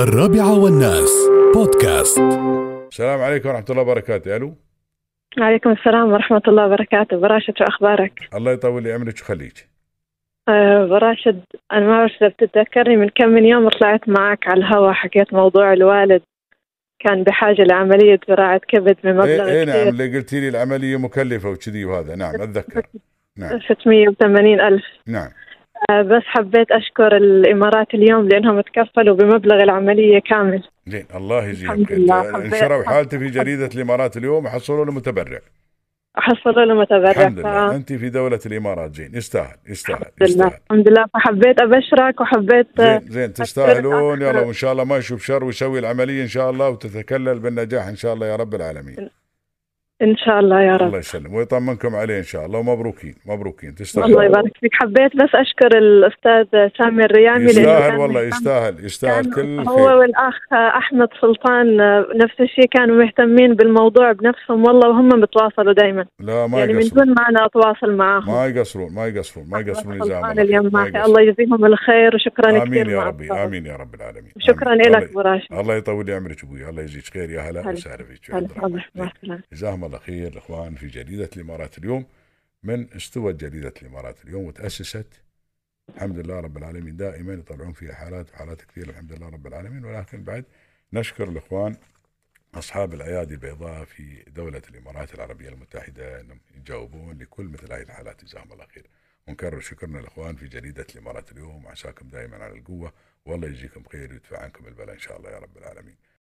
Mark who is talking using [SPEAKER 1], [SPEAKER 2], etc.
[SPEAKER 1] الرابعة والناس بودكاست
[SPEAKER 2] السلام عليكم ورحمة الله وبركاته ألو
[SPEAKER 3] وعليكم السلام ورحمة الله وبركاته براشد شو أخبارك؟
[SPEAKER 2] الله يطول لي عمرك ويخليك
[SPEAKER 3] آه، براشد أنا ما بعرف إذا بتتذكرني من كم من يوم طلعت معك على الهوا حكيت موضوع الوالد كان بحاجة لعملية زراعة كبد بمبلغ
[SPEAKER 2] إيه, إيه نعم
[SPEAKER 3] كبير
[SPEAKER 2] اللي قلتي لي العملية مكلفة وكذي وهذا نعم أتذكر نعم
[SPEAKER 3] 680 ألف
[SPEAKER 2] نعم
[SPEAKER 3] آه، بس حبيت أشكر الإمارات اليوم لأنهم تكفلوا بمبلغ العملية كامل
[SPEAKER 2] زين الله يجزيك
[SPEAKER 3] الحمد لله،
[SPEAKER 2] أنت-
[SPEAKER 3] حبيت-
[SPEAKER 2] انشروا حالتي في
[SPEAKER 3] حبيت-
[SPEAKER 2] جريدة الإمارات اليوم وحصلوا له متبرع
[SPEAKER 3] أحصلوا له متبرع
[SPEAKER 2] الحمد
[SPEAKER 3] ف-
[SPEAKER 2] لله أنت في دولة الإمارات زين يستاهل يستاهل
[SPEAKER 3] الحمد لله
[SPEAKER 2] يستاهل
[SPEAKER 3] الحمد لله فحبيت أبشرك وحبيت آه،
[SPEAKER 2] زين زين تستاهلون يلا وإن شاء الله ما يشوف شر ويسوي العملية إن شاء الله وتتكلل بالنجاح إن شاء الله يا رب العالمين
[SPEAKER 3] إن شاء الله يا رب
[SPEAKER 2] الله يسلم ويطمنكم عليه إن شاء الله ومبروكين مبروكين
[SPEAKER 3] الله
[SPEAKER 2] تستاهل
[SPEAKER 3] يبارك فيك حبيت بس اشكر الاستاذ سامي الريامي لأنه
[SPEAKER 2] يستاهل
[SPEAKER 3] كان-
[SPEAKER 2] والله يستاهل يستاهل كل
[SPEAKER 3] كان
[SPEAKER 2] الخير.
[SPEAKER 3] هو يعني والاخ احمد سلطان آه، نفس الشيء كانوا مهتمين بالموضوع بنفسهم والله وهم بتواصلوا دائما
[SPEAKER 2] لا ما
[SPEAKER 3] يعني من
[SPEAKER 2] يقصرون
[SPEAKER 3] دون ما انا اتواصل معاهم
[SPEAKER 2] ما يقصرون ما يقصرون ما يقصرون
[SPEAKER 3] أحمد
[SPEAKER 2] يجزاهم
[SPEAKER 3] سلطان
[SPEAKER 2] الله
[SPEAKER 3] اليوم
[SPEAKER 2] خير، ما
[SPEAKER 3] معك
[SPEAKER 2] يقصرون.
[SPEAKER 3] الله يجزيهم الخير وشكرا كثير
[SPEAKER 2] امين يا
[SPEAKER 3] مع
[SPEAKER 2] ربي
[SPEAKER 3] الصبر.
[SPEAKER 2] امين يا رب العالمين
[SPEAKER 3] شكرا
[SPEAKER 2] آمين.
[SPEAKER 3] لك
[SPEAKER 2] الله-
[SPEAKER 3] براشد
[SPEAKER 2] الله يطول لي عمرك ابوي الله يجزيك خير يا هلا
[SPEAKER 3] هلا.
[SPEAKER 2] وسهلا فيك يا
[SPEAKER 3] هلا
[SPEAKER 2] عبد الرحمن.
[SPEAKER 3] تفضل. مع السلامه
[SPEAKER 2] جزاهم الله خير الاخوان في جريده الامارات اليوم من استوت جريده الامارات اليوم وتاسست الحمد لله رب العالمين دائما يطلعون فيها حالات وحالات كثيره الحمد لله رب العالمين ولكن بعد نشكر الاخوان اصحاب الايادي البيضاء في دوله الامارات العربيه المتحده انهم يجاوبون لكل مثل هذه الحالات جزاهم الله خير ونكرر شكرنا الاخوان في جريده الامارات اليوم عساكم دائما على القوه والله يجزيكم خير ويدفع عنكم البلاء ان شاء الله يا رب العالمين